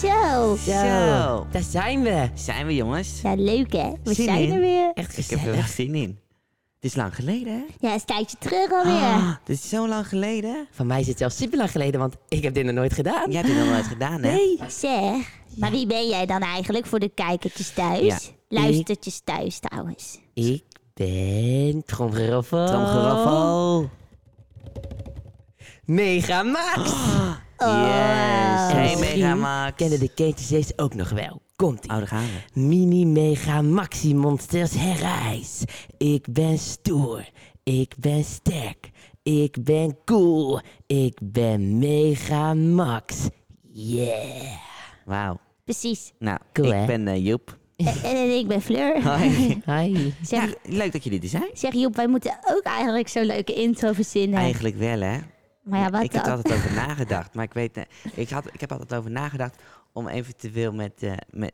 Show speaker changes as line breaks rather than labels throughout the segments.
Zo.
Zo, daar zijn we. Zijn we jongens?
Ja, leuk hè? We
Zin
zijn
in?
er weer.
Echt Ik heb er wel
gezellig.
zin in. Het is lang geleden hè?
Ja, het is een tijdje terug alweer.
Ah, het is zo lang geleden.
Van mij is het zelfs super lang geleden, want ik heb dit nog nooit gedaan.
Jij hebt dit nog nooit gedaan hè?
Nee.
Zeg, maar wie ben jij dan eigenlijk voor de kijkertjes
Ja,
thuis?
ik-
Luistertjes thuis trouwens.
Ik ben Tromgeroffel.
Tromgeroffel.
Mega Max.
Yes.
En
Oh, Hey
misschien
Mega Max.
kennen de kindjes deze ook nog wel. Komt ie.
Oh, daar gaan we.
Mini Mega Maxi Monsters herrijs. Ik ben stoer. Ik ben sterk. Ik ben cool. Ik ben Mega Max. Yeah.
Wauw.
Precies.
Nou,
Cool,
ik
hè?
ben eh, Joep.
En, en ik ben Fleur.
Hoi.
Hi.
Zeg,
Ja, leuk dat jullie er zijn.
zeg Joep, wij moeten ook eigenlijk zo'n leuke intro verzinnen.
Eigenlijk wel, hè?
maar ja, wat
ik heb er
dan?
altijd over nagedacht, maar ik weet... eh, Ik, had, ik heb altijd over nagedacht om eventueel met... eh, met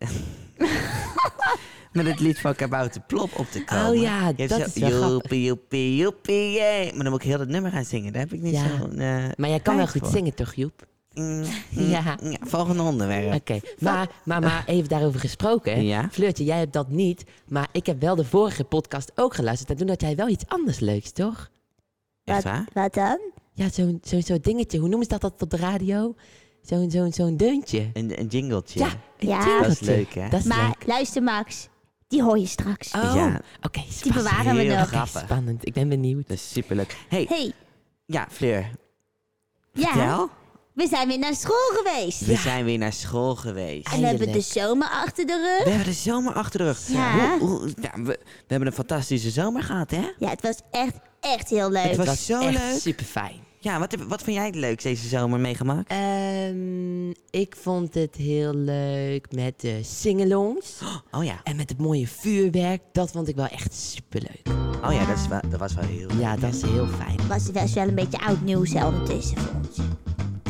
Met het lied van Kabouter Plop op te komen.
Oh ja,
Je hebt
dat
zo,
is wel
joepie,
grappig.
joepie, joepie, yeah. Maar dan moet ik heel dat nummer gaan zingen. Daar heb ik niet
Ja.
zo'n... eh,
Maar jij kan wel
tijd
goed
voor.
zingen toch, Joep?
Mm, mm,
Ja.
ja, Volgende onderwerp.
Oké, maar, maar, maar even daarover gesproken. hè.
Ja?
Fleurtje, jij hebt dat niet, maar ik heb wel de vorige podcast ook geluisterd. En toen had jij wel iets anders leuks, toch?
Echt
wat,
waar?
wat dan?
Ja, zo'n zo'n zo'n dingetje. Hoe noemen ze dat, dat op de radio? Zo'n zo'n zo'n deuntje.
Een, een jingletje.
Ja, een
Ja.
jingletje.
Dat is leuk, hè?
Dat is
Maar
leuk.
luister Max, die hoor je straks.
Oh,
Ja.
oké.
Die
spannend.
bewaren we
Heel
nog.
Oké,
grappig.
Spannend, ik ben benieuwd.
Dat is superleuk. Hé, hey,
Hey,
ja, Fleur.
ja,
Vertel.
we zijn weer naar school geweest.
We zijn weer naar school geweest.
En we hebben de
Eindelijk.
zomer achter de rug.
We hebben de zomer achter de rug.
Ja.
Hoe- hoe- ja, we, we hebben een fantastische zomer gehad, hè?
Ja, het was echt, echt heel
Het
leuk.
was-
Dat
zo
echt
leuk.
super fijn.
Ja, wat, heb- wat vind jij het leukst deze zomer meegemaakt?
Ehm, ik vond het heel leuk met de singalongs.
Oh ja,
En met het mooie vuurwerk. Dat vond ik wel echt superleuk.
oh ja, dat, is wel, dat was wel heel leuk.
Ja, dat is heel fijn.
was best wel een beetje oud nieuws hè, ondertussen voor ons.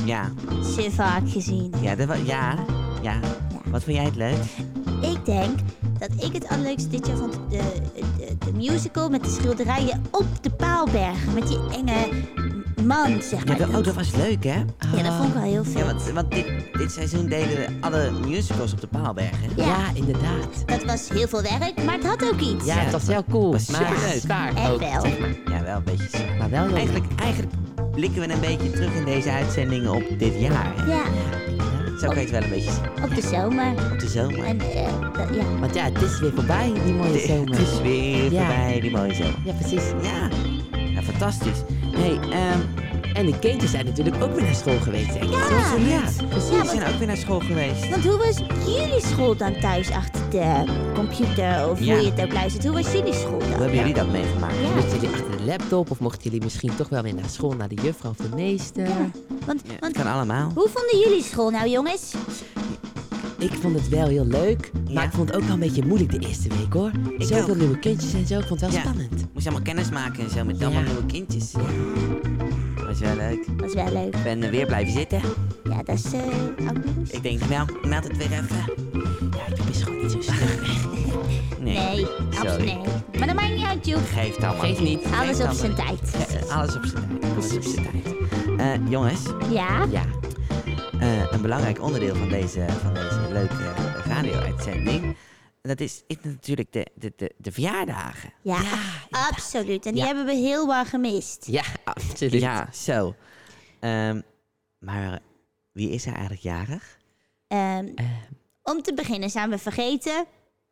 Ja,
Ze vaak gezien.
ja, dat wa- ja, ja. Wat vind jij het leuk?
Ik denk dat ik het allerleukste dit jaar vond de, de, de musical met de schilderijen op de Paalberg. Met die enge man, zeg
Ja,
maar.
dat, oh, dat was leuk, hè?
Ja, dat vond ik wel heel
Ja,
vet.
want, want dit, dit seizoen deden alle musicals op de Paalberg, hè?
Ja.
Ja, inderdaad.
Dat was heel veel werk, maar het had ook iets.
Ja, het was heel cool.
was
maar
superleuk.
zwaar
En
ook,
wel.
zeg maar.
Ja, wel een beetje saai.
Maar wel heel
Eigenlijk, eigenlijk blikken we een beetje terug in deze uitzendingen op dit jaar, hè?
Ja,
Zo kan je het wel een beetje zien.
op de zomer.
Op de zomer.
En eh, dat- ja,
Want ja, het is weer voorbij, die mooie
Het
zomer.
is weer
Ja.
voorbij, die mooie zomer.
Ja, precies.
Ja, ja fantastisch. hey, ehm
En de kindjes zijn natuurlijk ook weer naar school geweest, denk ik.
Ja.
ja precies.
Ja,
we zijn ook weer naar school geweest.
Ah, Want hoe was jullie school dan thuis achter de computer of
Ja.
hoe je het ook luistert? Hoe was jullie school
Hoe
dan?
hebben jullie dat meegemaakt?
Ja.
Moesten jullie achter de laptop of mochten jullie misschien toch wel weer naar school, naar de juffrouw of de meester?
Ja. Want,
Ja, het
want
kan allemaal.
hoe vonden jullie school nou, jongens?
Ik vond het wel heel leuk, maar
Ja.
ik vond het ook wel een beetje moeilijk de eerste week hoor.
Ik
Zoveel
ook.
nieuwe kindjes en zo, ik vond het wel
Ja.
spannend.
Moest allemaal kennis maken en zo met
Ja.
allemaal nieuwe kindjes. Was wel leuk.
Was wel leuk.
Ik ben eh, weer blijven zitten.
Ja, dat is eh oud nieuws.
Ik denk, nou, ik meld het weer even.
Ja, ik is gewoon niet zo slecht.
Nee,
Nee, absoluut
sorry.
nee. Maar dat maakt niet uit, Joep.
Geeft allemaal
Geeft niet.
Geeft
Alles op
allemaal
zijn
niet.
tijd.
Ja, eh, alles op zijn tijd. Alles op zijn tijd. Eh, jongens,
Ja?
Ja,
eh, een belangrijk onderdeel van deze, van deze leuke eh, radio-uitzending... dat is, is natuurlijk de, de, de, de verjaardagen.
Ja,
Ja,
absoluut. En die
Ja.
hebben we heel waar gemist.
ja, absoluut.
Ja, zo. Ehm, maar wie is er eigenlijk jarig?
Ehm,
Eh,
om te beginnen zijn we vergeten...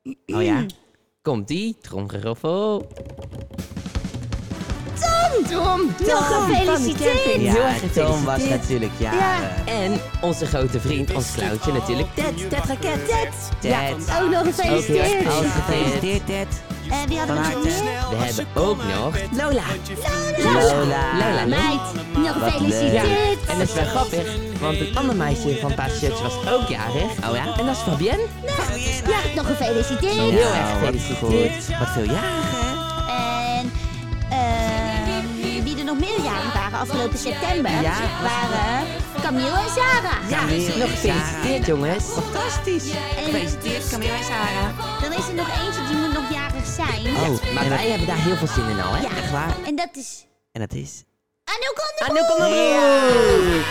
Mm.
Oh ja.
komt die, tromgeroffel.
Tom! Tom!
Tom
Nog
van de
gefeliciteerd!
camping. Heel
Ja,
erg
Tom
gefeliciteerd.
was natuurlijk jarig.
En onze grote vriend, ons klauwtje natuurlijk, Ted, Ted Raket.
Ted!
Ja,
Ted. Oh,
Ook nog gefeliciteerd!
Ook heel erg
Gefeliciteerd, Ted.
En Eh, wie hadden we nog meer?
we hebben ook nog Lola.
Lola.
Lola.
Meid, nog
Wat
gefeliciteerd!
En dat is wel grappig, want een ander meisje van Paas Shirts was ook jarig.
Oh ja?
En dat is Fabienne.
Ja, nog gefeliciteerd!
Heel erg
Nou, wat
gefeliciteerd.
goed. Wat veel jarigen, hè?
En ehm, wie er nog meer jaren waren afgelopen september
Ja.
waren Camille en Sarah.
Ja,
Camille.
nog gefeliciteerd jongens.
Fantastisch.
Gefeliciteerd,
Camille en Sarah.
Dan is er nog eentje die moet nog jarig zijn.
Oh,
Maar wij hebben daar heel veel zin in al, hè?
Ja.
echt waar.
En dat is
En dat is...
Anouk
Anouk
Onderbroek.
Onderbroek.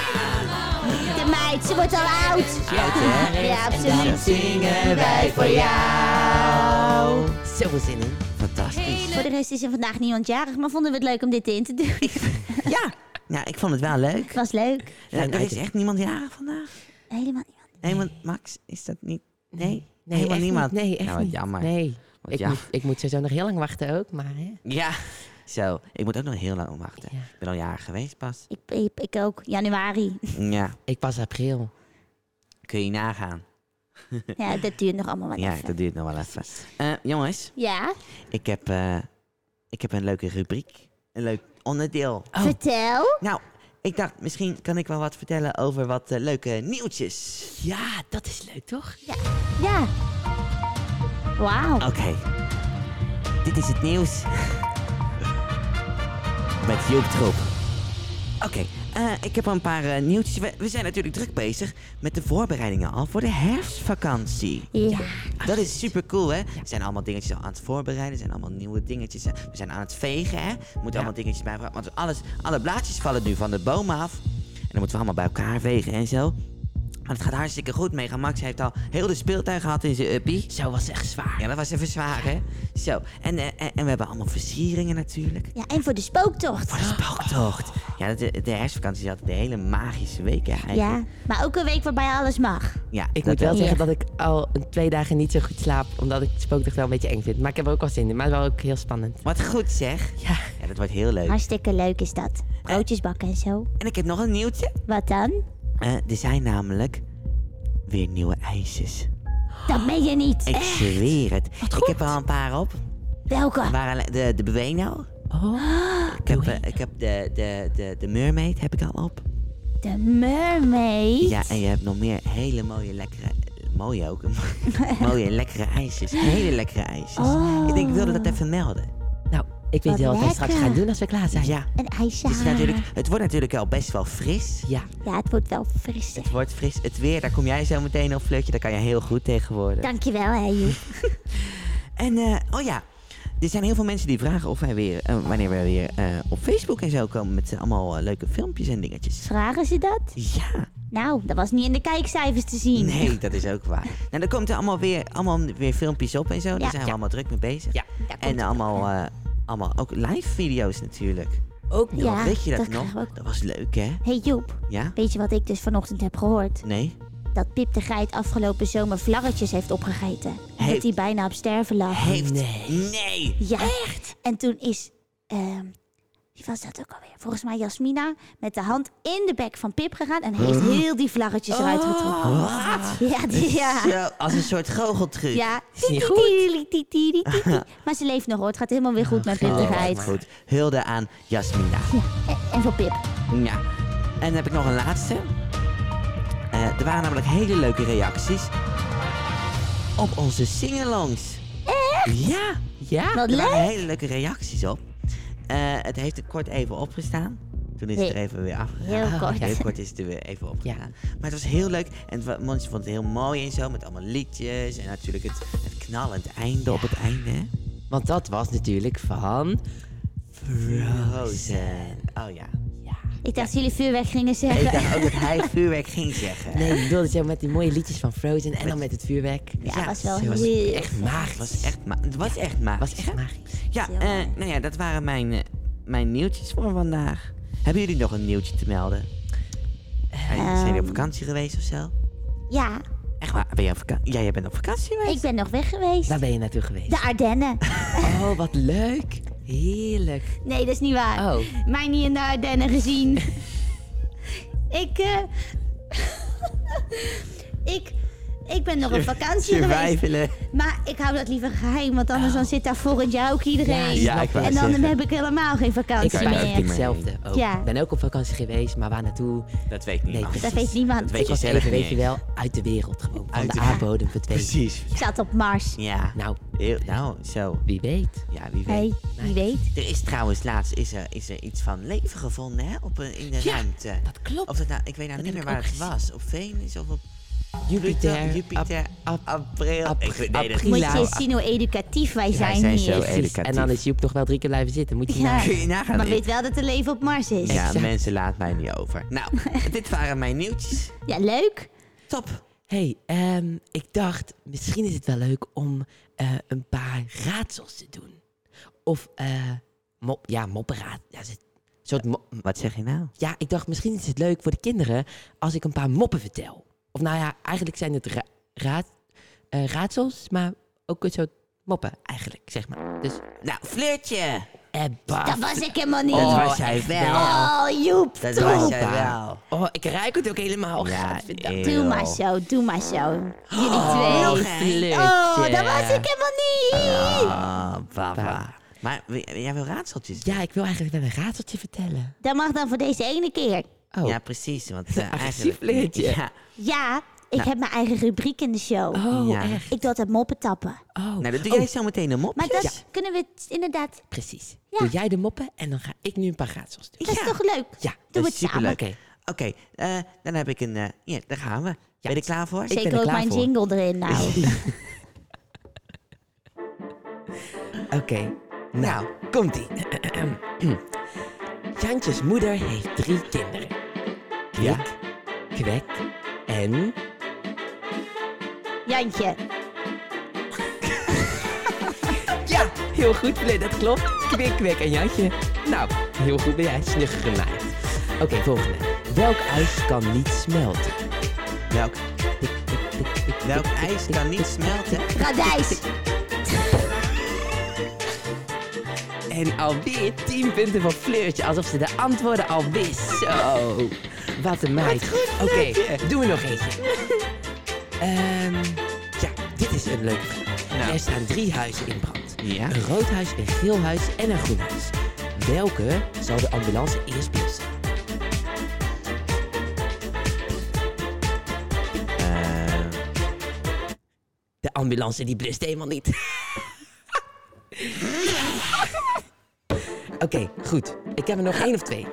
De meid, ze wordt al oud.
Oud, hè?
Ja, absoluut.
zingen wij voor jou. Zo veel zin in.
Fantastisch.
Voor de rest is er vandaag niemand jarig, maar vonden we het leuk om dit in te doen.
Ja, nou, ik vond het wel leuk.
Het was leuk.
Ja, er is echt niemand jarig vandaag.
Helemaal niemand.
Nee, want Max, is dat niet? Nee,
Nee,
helemaal
echt
niemand.
Niet. Nee, echt
nou, wat
niet.
jammer.
Nee. Ik,
jammer.
Moet, ik moet sowieso nog heel lang wachten ook, maar hè.
Ja, zo. Ik moet ook nog heel lang wachten.
Ja.
Ik ben al jaren geweest pas.
Ik, ik, ik ook. Januari.
Ja,
ik pas april.
kun je nagaan.
Ja, dat duurt nog allemaal wat
Ja,
even.
dat duurt nog wel even. Eh, jongens,
Ja,
ik heb, eh, ik heb een leuke rubriek. Een leuk onderdeel.
Oh.
vertel.
Nou, ik dacht, misschien kan ik wel wat vertellen over wat eh, leuke nieuwtjes.
Ja, dat is leuk toch?
Ja. Wauw.
Oké. Dit is het nieuws. Met Joop Troop. Oké, eh, ik heb een paar eh, nieuwtjes. We, we zijn natuurlijk druk bezig met de voorbereidingen al voor de herfstvakantie.
Ja.
Dat is super cool, hè? We zijn allemaal dingetjes al aan het voorbereiden. Er zijn allemaal nieuwe dingetjes. hè. We zijn aan het vegen, hè? We moeten allemaal dingetjes bij Want alles, alle blaadjes vallen nu van de bomen af. En dan moeten we allemaal bij elkaar vegen en zo. Maar het gaat hartstikke goed. Mega Max heeft al heel de speeltuin gehad in zijn uppie.
Zo was echt zwaar.
Ja, dat was even zwaar, hè? Zo, en, eh, en, en we hebben allemaal versieringen natuurlijk.
ja, en voor de spooktocht.
Oh,
Voor de spooktocht. Ja, eh, de, de herfstvakantie is altijd de hele magische week, hè,
Ja,
eigenlijk.
maar ook een week waarbij alles mag.
ja
Ik
dat
moet wel
wel.
zeggen dat ik al een twee dagen niet zo goed slaap, omdat ik spookdag wel een beetje eng vind. Maar ik heb er ook wel zin in, maar wel ook heel spannend.
Wat goed, zeg.
Ja.
Ja, dat wordt heel leuk.
Hartstikke leuk is dat. Broodjes bakken en zo.
En ik heb nog een nieuwtje.
Wat dan?
Eh, er zijn namelijk weer nieuwe ijsjes.
Dat ben je niet.
Ik
Echt?
zweer het. Ik heb er al een paar op.
Welke?
Waar alle- de, de Bueno.
Oh.
Ik heb, eh, ik heb de, de, de, de Mermaid heb ik al op.
De mermaid.
Ja, en je hebt nog meer hele mooie, lekkere... Mooie ook. mooie, lekkere ijsjes. Hele lekkere ijsjes.
Oh.
Ik denk, ik wilde dat even melden.
Nou, ik weet
Wat
wel wat wij straks
lekker.
gaan doen als we klaar zijn.
Ja.
Een ijsje.
Het, is natuurlijk, het wordt natuurlijk al best wel fris.
Ja.
Ja, het wordt wel fris. hè.
Het wordt fris. Het weer, daar kom jij zo meteen op, Fleurtje. Daar kan je heel goed tegen worden.
Dankjewel, hè, Joep.
En, eh, oh ja. Er zijn heel veel mensen die vragen of wij weer, eh, wanneer wij weer eh, op Facebook en zo komen met eh, allemaal eh, leuke filmpjes en dingetjes.
Vragen ze dat?
Ja.
Nou, dat was niet in de kijkcijfers te zien.
Nee, dat is ook waar. Nou, er komt er allemaal weer, allemaal weer filmpjes op en zo. Daar
Ja.
zijn we
Ja.
allemaal druk mee bezig.
Ja.
Daar komt
En
het
allemaal,
op, hè.
eh, allemaal ook live video's natuurlijk.
Ook
nog. Ja,
Weet je dat,
dat
nog?
krijgen we ook.
Dat was leuk, hè?
Hey Joep,
Ja?
weet je wat ik dus vanochtend heb gehoord?
Nee?
Dat Pip de Geit afgelopen zomer vlaggetjes heeft opgegeten. En
Heeft-
Dat hij bijna op sterven lag.
Heeft...
nee.
Nee!
Ja. Echt? En toen is, ehm, wie was dat ook alweer? Volgens mij Jasmina met de hand in de bek van Pip gegaan en heeft heel die vlaggetjes eruit
Oh.
getrokken. Ja, die- ja.
Zo, als een soort goocheltruc.
Ja.
is niet goed.
Tiri, tiri, tiri, tiri. Maar ze leeft nog hoor. Het gaat helemaal weer goed met Pip de
Oh,
Geit.
goed. Hulde aan Jasmina.
En- En voor Pip.
Ja. En dan heb ik nog een laatste. Eh, er waren namelijk hele leuke reacties op onze singalongs. Echt? Ja.
Ja?
Wat
Er waren
leuk.
hele leuke reacties op. Eh, het heeft er kort even opgestaan. Toen is het er
Heel-
even weer afgegaan.
heel
Ah,
kort.
Heel kort is het er weer even opgegaan. Maar het was heel leuk. En het wa- mensen vonden het heel mooi en zo. Met allemaal liedjes. En natuurlijk het, het knallend einde op het einde. hè.
Want dat was natuurlijk van...
Frozen. Oh ja.
Ik dacht dat jullie vuurwerk gingen
Ik
zeggen.
dacht ook dat hij vuurwerk ging zeggen.
Nee, ik bedoelde zo met die mooie liedjes van Frozen en dan met het vuurwerk.
Ja,
ja,
was wel
ze
heel...
was
Echt
Het
magisch.
was echt, ma- het was echt magisch.
was echt
hè?
magisch.
Ja,
Heel
eh,
mooi.
nou ja, dat waren mijn, eh, mijn nieuwtjes voor vandaag. Hebben jullie nog een nieuwtje te melden? Eh, zijn jullie op vakantie geweest of zo?
Ja,
Echt waar? Ben jij op vakantie? Ja, jij bent op vakantie geweest?
ik ben nog weg geweest.
Waar ben je naartoe geweest?
De Ardennen.
Oh, wat leuk. Heerlijk.
Nee, dat is niet waar.
Oh.
Mij niet in de Ardennen gezien. ik, eh, ik, ik ben nog op vakantie
Ze
geweest.
wijfelen.
Maar ik hou dat liever geheim, want anders dan zit daar volgend jaar ook iedereen.
Ja,
Oh. Ja, ik wou
en dan
zeggen.
heb ik helemaal geen
Ik
vakantie
heb
daar ook
meer.
niet
eigenlijk
meer
hetzelfde. ook.
Ja.
Ik ben ook op vakantie geweest, maar waar naartoe?
Dat weet
Nee,
niemand.
Dat
precies.
weet niemand.
Dat
Ik
weet
was
je
even,
zelf
weet je
niet.
wel, uit de wereld gewoon. Van
Uit
de
de-
aardbodem verdwenen.
Precies.
Ik zat op Mars.
Ja.
Nou,
Heel- nou, zo.
wie weet.
Ja, wie weet.
Hey, wie weet.
Er is trouwens laatst is er, is er iets van leven gevonden hè? Op een, in de
Ja,
ruimte.
dat klopt.
Of dat nou, ik weet nou
Dat
niet
heb
meer waar
ik ook
het was.
gezien.
Op Venus of op
Jupiter,
Jupiter,
ap- ap-
april.
ap-
ik weet nee, dat-
april.
Moet
Pilau.
je eens zien hoe educatief wij
ah. Wij
zijn,
zijn
hier.
zo
Precies.
educatief.
En dan is Joep nog wel drie keer blijven zitten. Moet je
Ja.
nagaan.
Kun je nagaan.
Maar
Lien?
weet wel dat er leven op Mars is.
Ja,
Ja,
Exact.
mensen, laat mij niet over. Nou, dit waren mijn nieuwtjes.
leuk.
Top.
Hey, ehm, ik dacht, misschien is het wel leuk om eh, een paar raadsels te doen. Of, eh mop, ja, moppenraad. Ja, is het een soort mo-
Wat zeg je nou?
ja, ik dacht, misschien is het leuk voor de kinderen als ik een paar moppen vertel. Of nou ja, eigenlijk zijn het ra- raad, eh, raadsels, maar ook een soort moppen eigenlijk, zeg maar. Dus,
Nou, Fleurtje.
eh,
Dat
bah.
was ik helemaal niet.
Dat
Oh,
was jij
echt
wel.
Oh, Joep,
Dat was
doe.
jij wel.
Oh, ik ruik het ook helemaal.
Ja,
Gadverdamme.
Doe maar
eeuw.
zo, doe maar zo. Jullie
Oh,
twee.
flirtje.
Oh, dat was ik helemaal niet.
Ah, papa. Maar wi- jij wil raadseltjes?
Ja, ik wil eigenlijk wel een raadseltje vertellen.
Dat mag dan voor deze ene keer.
Oh.
Ja, precies. Want eh,
Agressief
eigenlijk...
leertje.
Ja.
Ja, ik heb mijn eigen rubriek in de show.
Oh,
Ja.
echt?
Ik doe altijd moppen tappen.
Oh.
Nou, dat doe
Oh,
jij zo meteen een mopje.
Maar dat kunnen we t- inderdaad...
Precies.
Ja.
Doe jij de moppen en dan ga ik nu een paar raadsels doen.
Dat is
Ja.
toch leuk?
Ja,
Doe
dat
het
is
samen.
superleuk.
Oké.
Oké, eh, dan heb ik een... eh, ja, daar gaan we. Ben je er klaar voor?
ben
Zeker
er
ook
klaar
mijn
voor.
jingle erin nou.
Oké. Nou, komt-ie. Jantjes moeder heeft drie kinderen. Kwik,
Ja.
kwek en...
Jantje.
Ja, heel goed, Fleur, dat klopt. Kwik, kwek en Jantje. Nou, heel goed ben jij, snuggere meid. Oké, volgende. Welk ijs kan niet smelten?
Welk, welk ijs kan niet smelten?
Radijs.
En alweer 10 punten voor Fleurtje, alsof ze de antwoorden al wist. Zo, wat een meid. Oké, doen we nog eentje. Ehm, ja, dit is een leuke vraag.
Nou.
Er staan drie huizen in brand.
Ja.
Een rood huis, een geel huis en een groen huis. Welke zal de ambulance eerst blussen?
Eh,
De ambulance die blust helemaal niet. Oké, goed. Ik heb er nog één of twee.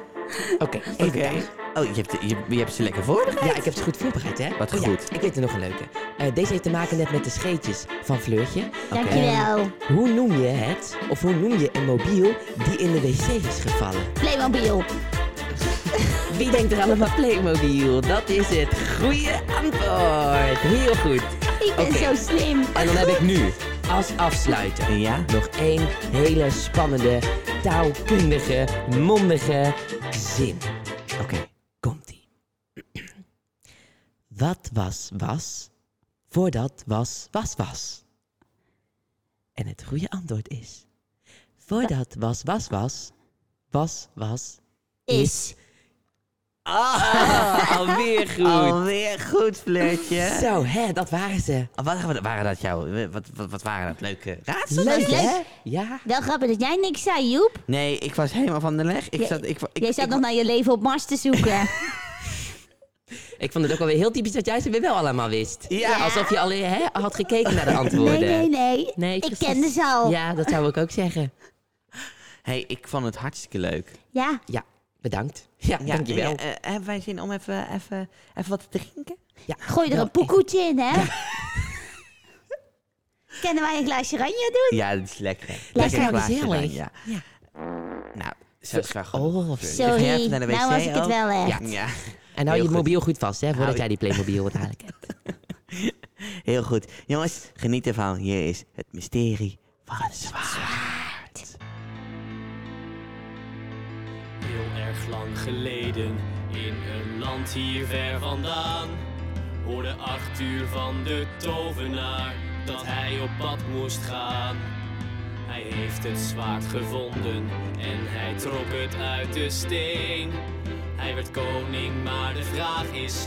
Oké, even
Oké.
kijken.
Oh, je hebt, je, je hebt ze lekker voorbereid.
Ja, ik heb ze goed voorbereid, hè?
Wat
Oh ja,
goed.
ik weet er nog een leuke. Eh, deze heeft te maken net met de scheetjes van Fleurtje.
Dankjewel.
Hoe noem je het, of hoe noem je een mobiel die in de wc is gevallen?
Playmobil.
Wie denkt er allemaal Playmobil? Dat is het goede antwoord. Heel goed.
Ik ben
Oké.
zo slim.
En dan heb ik nu, als afsluiter,
Ja?
nog één hele spannende, taalkundige, mondige zin.
Oké.
Komt-ie. Wat was was voordat was was was? En het goede antwoord is... Voordat was was was, was was...
Is.
Ah, alweer goed.
Alweer goed, Fleurtje.
Zo, hè, dat waren ze.
Wat wat waren dat jou? Wat, wat, wat waren dat leuke raadsels?
Leuk,
leuk.
hè? Ja.
Wel grappig dat jij niks zei, Joep.
Nee, ik was helemaal van de leg. Ik
Jij-
zat, ik, ik,
Jij zat
ik-
nog naar je leven op Mars te zoeken.
Ik vond het ook alweer heel typisch dat jij ze weer wel allemaal wist.
Ja.
Alsof je al hè, had gekeken naar de
nee,
antwoorden.
nee, nee.
Nee,
ik
precies.
kende ze al. Ja.
Ja, dat zou ik ook zeggen.
hey, ik vond het hartstikke leuk.
Ja, bedankt. Ja, dankjewel.
ja, eh, hebben wij zin om even, even, even wat te drinken?
Ja,
Gooi er
wel
een poekoetje in, hè? Kunnen wij een glaasje oranje doen?
Ja, dat is lekker. Lekker,
wel
glaasje
gezellig.
wijn, ja.
Ja.
Nou, zo is het wel goed.
Oh,
ga jij
Sorry,
even naar de
nou
wc
was ik het
ook?
wel echt.
Ja.
Ja,
En hou
Heel
je
goed.
mobiel goed vast, hè, voordat
Hou-
jij die Playmobil wat dadelijk hebt.
heel goed. Jongens, geniet ervan. Hier is het mysterie van het zwaard.
Heel erg lang geleden, in een land hier ver vandaan, hoorde Arthur van de tovenaar dat hij op pad moest gaan. Hij heeft het zwaard gevonden en hij trok het uit de steen. Hij werd koning, maar de vraag is,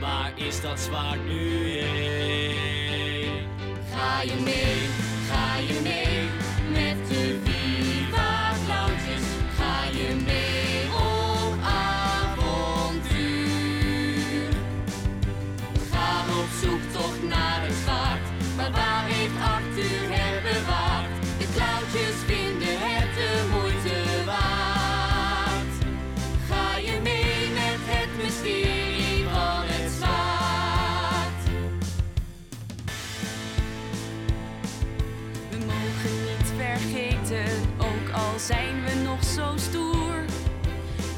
waar is dat zwaard nu heen? Ga je mee, ga je mee met de Viva Clowntjes. Ga je mee op avontuur. Ga op zoektocht naar het zwaard, maar waar heeft Arthur het bewaard? De clowntjes vinden het de moeite waard. Ga je mee met het mysterie van het zwaard?
weten, ook al zijn we nog zo stoer.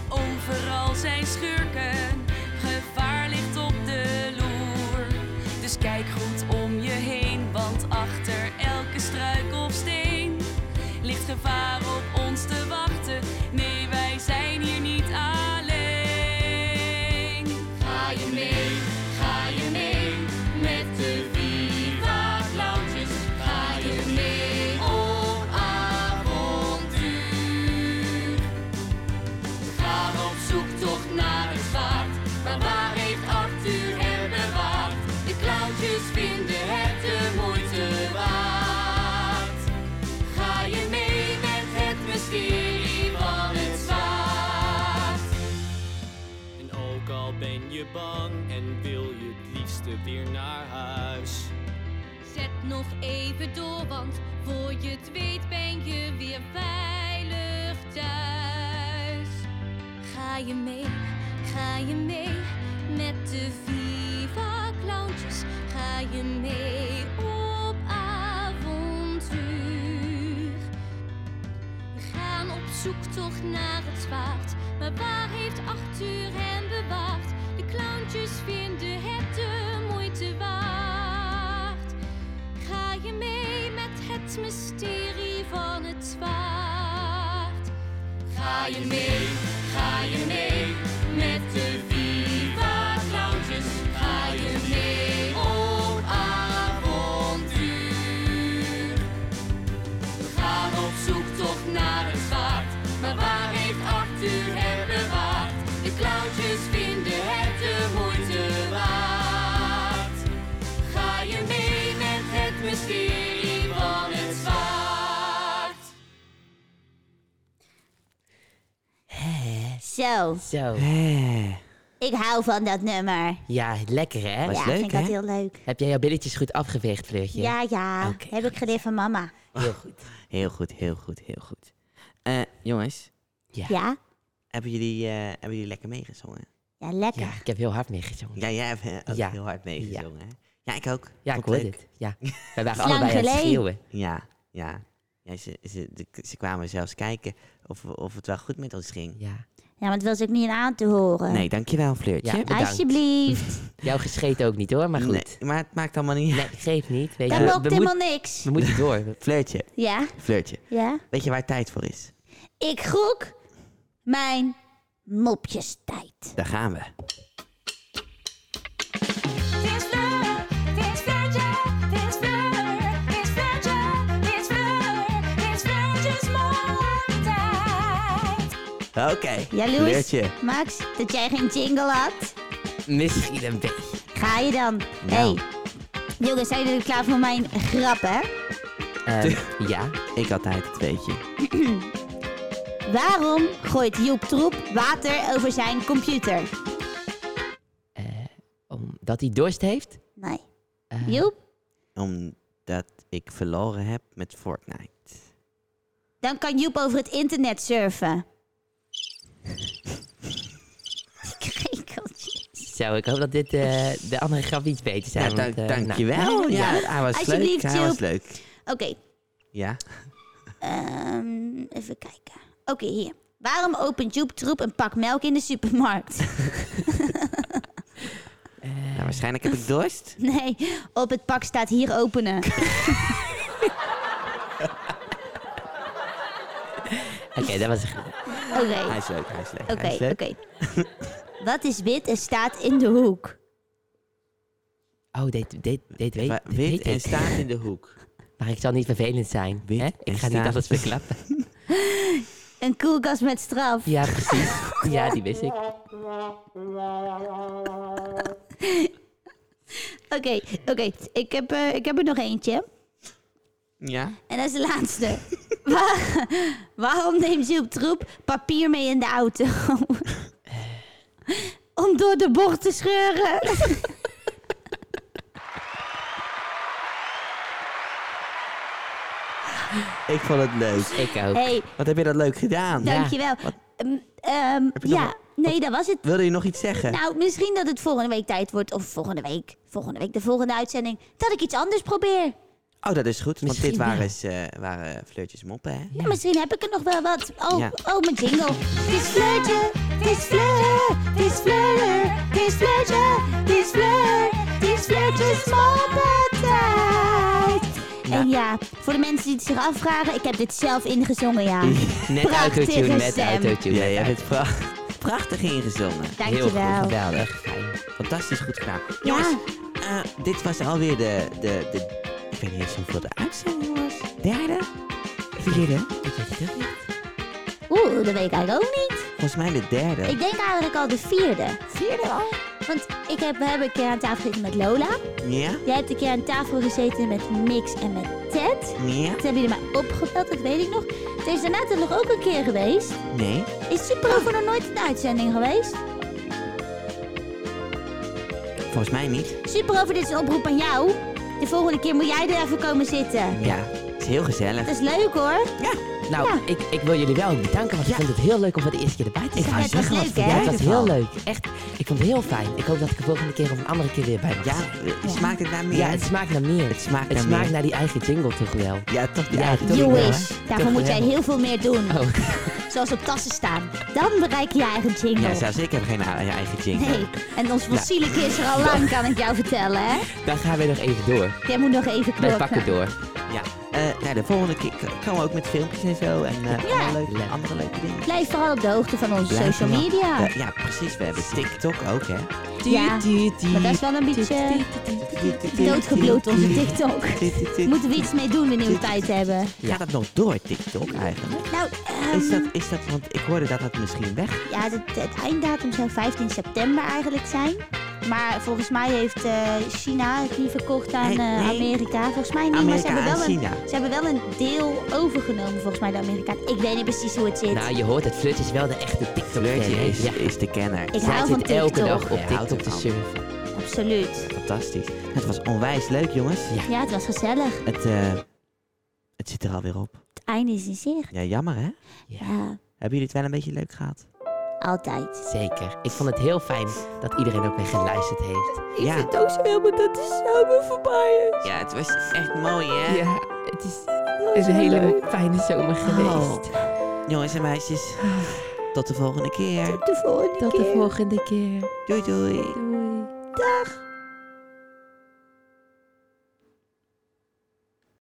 Overal zijn schurken, gevaar ligt op de loer. Dus kijk goed om je heen, want achter elke struik of steen ligt gevaar op ons te wachten. Nee, wij zijn hier niet alleen. Ga je mee, ga je mee met de Viva Clowntjes. Ga je mee op avontuur. Ga op zoektocht naar het zwaard. Maar waar heeft Arthur hem bewaard? De clowntjes vinden het de moeite waard. Ga je mee met het mysterie van het zwaard?
En ook al ben je bang en wil je het liefste weer naar huis.
Zet nog even door, want voor je het weet ben je weer veilig thuis. Ga je mee, ga je mee met de Viva Clowntjes. Ga je mee op avontuur. We gaan op zoektocht naar het zwaard. Maar waar heeft Arthur hem bewaard? De clowntjes vinden het de moeite waard. Ga je mee met het mysterie van het zwaard? Ga je mee, ga je mee met de Viva Clowntjes. Ga je mee op avontuur. We gaan op zoektocht naar het zwaard. Maar waar heeft Arthur het bewaard? De clowntjes vinden het de moeite waard. Ga je mee met het mysterie van het zwaard?
Zo,
Zo.
Eh,
ik hou van dat nummer.
Ja, lekker hè?
Was
ja,
leuk,
vind ik dat
hè?
heel leuk.
Heb jij jouw billetjes goed afgeweegd, Fleurtje?
Ja, ja,
Oké,
heb ik geleerd van mama.
Heel goed.
Heel goed, heel goed, heel goed. Eh, jongens,
Ja?
hebben jullie, eh, hebben jullie lekker meegezongen?
Ja, lekker.
Ja, ik heb heel hard meegezongen.
Ja, jij hebt eh, ook
Ja.
heel hard meegezongen, hè? Ja, ik ook.
Ja, ik
Vond
hoorde
leuk.
het. Ja. Wij waren
Lang
allebei aan het
geleden.
schreeuwen.
Ja, ja. ja ze, ze, de- ze kwamen zelfs kijken of, we- of het wel goed met ons ging.
Ja.
Ja, maar het was ook niet aan te horen.
Nee, dankjewel, Fleurtje.
Ja, bedankt.
Alsjeblieft.
Jou gescheten ook niet hoor, maar goed.
Nee, maar het maakt allemaal niet
Nee, geeft niet. Weet
Dat
je,
mocht
we,
helemaal
moeten
niks.
we moeten door.
Fleurtje,
Ja,
Fleurtje.
ja.
Weet je waar tijd voor is?
Ik groek mijn mopjestijd.
Daar gaan we.
It's Fleur, it's Fleurtje, it's Fleur, it's Fleurtje, it's Fleur, it's Fleurtjes tijd.
Oké.
Ja, Louis,
Fleurtje.
Max, dat jij geen jingle had.
Misschien een beetje.
Ga je dan? hey.
Nou.
jongens, zijn jullie klaar voor mijn grap, hè?
Ehm, ja.
Ik altijd het weet je.
Waarom gooit Joep Troep water over zijn computer?
Omdat hij dorst heeft.
Nee. Joep,
Omdat ik verloren heb met Fortnite.
dan kan Joep over het internet surfen. Die krekeltjes.
Zo, ik hoop dat dit eh, de andere grap iets beter zijn.
Ja, dank,
want, eh, nou,
dankjewel. ja, hij was leuk.
Alsjeblieft,
Hij was
Joep.
leuk.
Oké,
Ja.
ehm, even kijken. Oké, hier. Waarom opent Joep Troep een pak melk in de supermarkt?
Nou, waarschijnlijk heb ik dorst.
Nee, op het pak staat hier openen.
Oké, dat was een goed.
Oké,
Hij is leuk, hij is leuk.
oké,
hij is leuk.
oké. Wat is wit en staat in de hoek?
Oh, dit, dit, dit weet,
Maar
dit
Wit
weet
en
ik.
staat in de hoek.
Maar ik zal niet vervelend zijn.
Wit
hè?
en
Ik ga
staat.
niet alles verklappen.
Een koelkast met straf.
Ja, precies. Ja, die wist ik.
Oké, oké. Ik, heb, eh, ik heb er nog eentje.
Ja.
En dat is de laatste. Wa- Waarom neemt Joep Troep papier mee in de auto? Om door de bocht te scheuren.
Ik vond het leuk.
Ik ook.
hey,
Wat heb je dat leuk gedaan?
dankjewel. Ehm, ehm,
Heb je nog
ja, nee, dat was het.
Wilde je nog iets zeggen?
Nou, misschien dat het volgende week tijd wordt. Of volgende week, volgende week de volgende uitzending. Dat ik iets anders probeer.
Oh, dat is goed. Want
Misschien
dit waren,
wel.
eens, eh, waren Fleurtjes moppen, hè?
Ja, misschien heb ik er nog wel wat. Oh,
Ja.
oh mijn jingle. Het is fleurtje, het is fleur, het is fleur, het is fleurtje, het is fleur, het is fleurtjes moppentijd.
Ja.
En ja, voor de mensen die het zich afvragen, ik heb dit zelf ingezongen, ja.
Net
Prachtige
autotune, net
stem.
autotune.
Ja,
net
jij
auto-
bent pracht- prachtig ingezongen.
Heel goed,
Dankjewel.
geweldig. Fijn.
Fantastisch goed gedaan. Jongens,
Ja,
eh, dit was alweer de, de, de... Ik weet niet eens hoeveel de uitzending was. Derde? Vierde? Ik weet het ook niet.
oeh, dat weet ik eigenlijk ook niet.
Volgens mij de derde.
Ik denk eigenlijk al de vierde.
Vierde al?
Want ik heb, we hebben een keer aan tafel gezeten met Lola.
Ja?
Jij hebt een keer aan tafel gezeten met Mix en met Ted.
Ja?
Toen hebben jullie mij opgebeld, dat weet ik nog. Toen is daarna toch nog ook een keer geweest.
Nee?
Is Super Over nog nooit in de uitzending geweest?
Volgens mij niet.
Super Over, dit is een oproep aan jou. De volgende keer moet jij er even komen zitten.
Ja. Het is heel gezellig.
Dat is leuk hoor.
Ja.
Nou,
Ja.
ik, ik wil jullie wel bedanken, want ik vond het heel leuk om voor de eerste keer erbij te
Ik
zijn.
wou
het was
zeggen, wat
leuk,
vind
hè?
Ja,
jij
Ah, het was
ervan?
heel leuk. Echt, ik vond het heel fijn. Ik hoop dat ik de volgende keer of een andere keer weer bij mag
Ja,
zijn.
eh, smaakt het naar meer?
Ja, het smaakt naar meer. Het
smaakt naar meer.
die eigen jingle toch wel.
Ja, toch?
Ja,
Ja,
toch
You
wel, hè?
wish. Daarvoor
Toch
moet
wel.
jij heel veel meer doen.
Oh.
Zoals op tassen staan. Dan bereik je je eigen jingle.
ja, zelfs ik heb geen a- eigen jingle.
Nee, en ons fossiele is er al lang, kan ik jou vertellen, hè?
Dan gaan we nog even door.
Jij moet nog even
Wij
knokken.
pakken door.
Ja. eh, nou, de volgende keer k- komen we ook met filmpjes en zo. En eh,
Ja.
andere, leuke, andere leuke dingen.
Blijf vooral op de hoogte van onze
Blijf
social
maar-
media.
Eh, ja, precies. We hebben TikTok ook, hè.
Ja, maar dat is wel een beetje doodgebloed, onze TikTok. Moeten we iets mee doen wanneer we tijd hebben?
Gaat dat nog door, TikTok, eigenlijk?
Nou, ehm,
Is dat, is dat, want ik hoorde dat dat misschien weg...
ja, het, het einddatum zou 15 september eigenlijk zijn. Maar volgens mij heeft eh, China het niet verkocht aan
Nee,
eh,
nee.
Amerika. Volgens mij niet, maar ze
Amerika
hebben,
aan
wel een,
China.
ze hebben wel een deel overgenomen volgens mij de Amerikanen. Ik weet niet precies hoe het zit.
Nou, je hoort het. Flirt is wel de echte tiktok
Fleurtje is,
Ja.
is de kenner.
ik
Zij
hou van
zit
TikTok.
elke dag op
Ja, houdt
TikTok te
ervan.
surfen.
Absoluut.
Fantastisch. Het was onwijs leuk, jongens.
Ja, het was gezellig. Het
Het, eh, het zit er alweer op.
einde is in zicht.
Ja, jammer, hè?
Ja,
Hebben jullie het wel een beetje leuk gehad?
altijd.
Zeker. Ik vond het heel fijn dat iedereen ook weer geluisterd heeft.
ja. vind
ook zo helemaal dat de zomer voorbij is.
Ja, het was echt mooi, hè?
Ja, het is, Oh. is een hele fijne zomer geweest.
Jongens en meisjes, tot de volgende keer.
Tot de volgende
Tot de volgende keer.
Doei doei.
Doei.
Dag.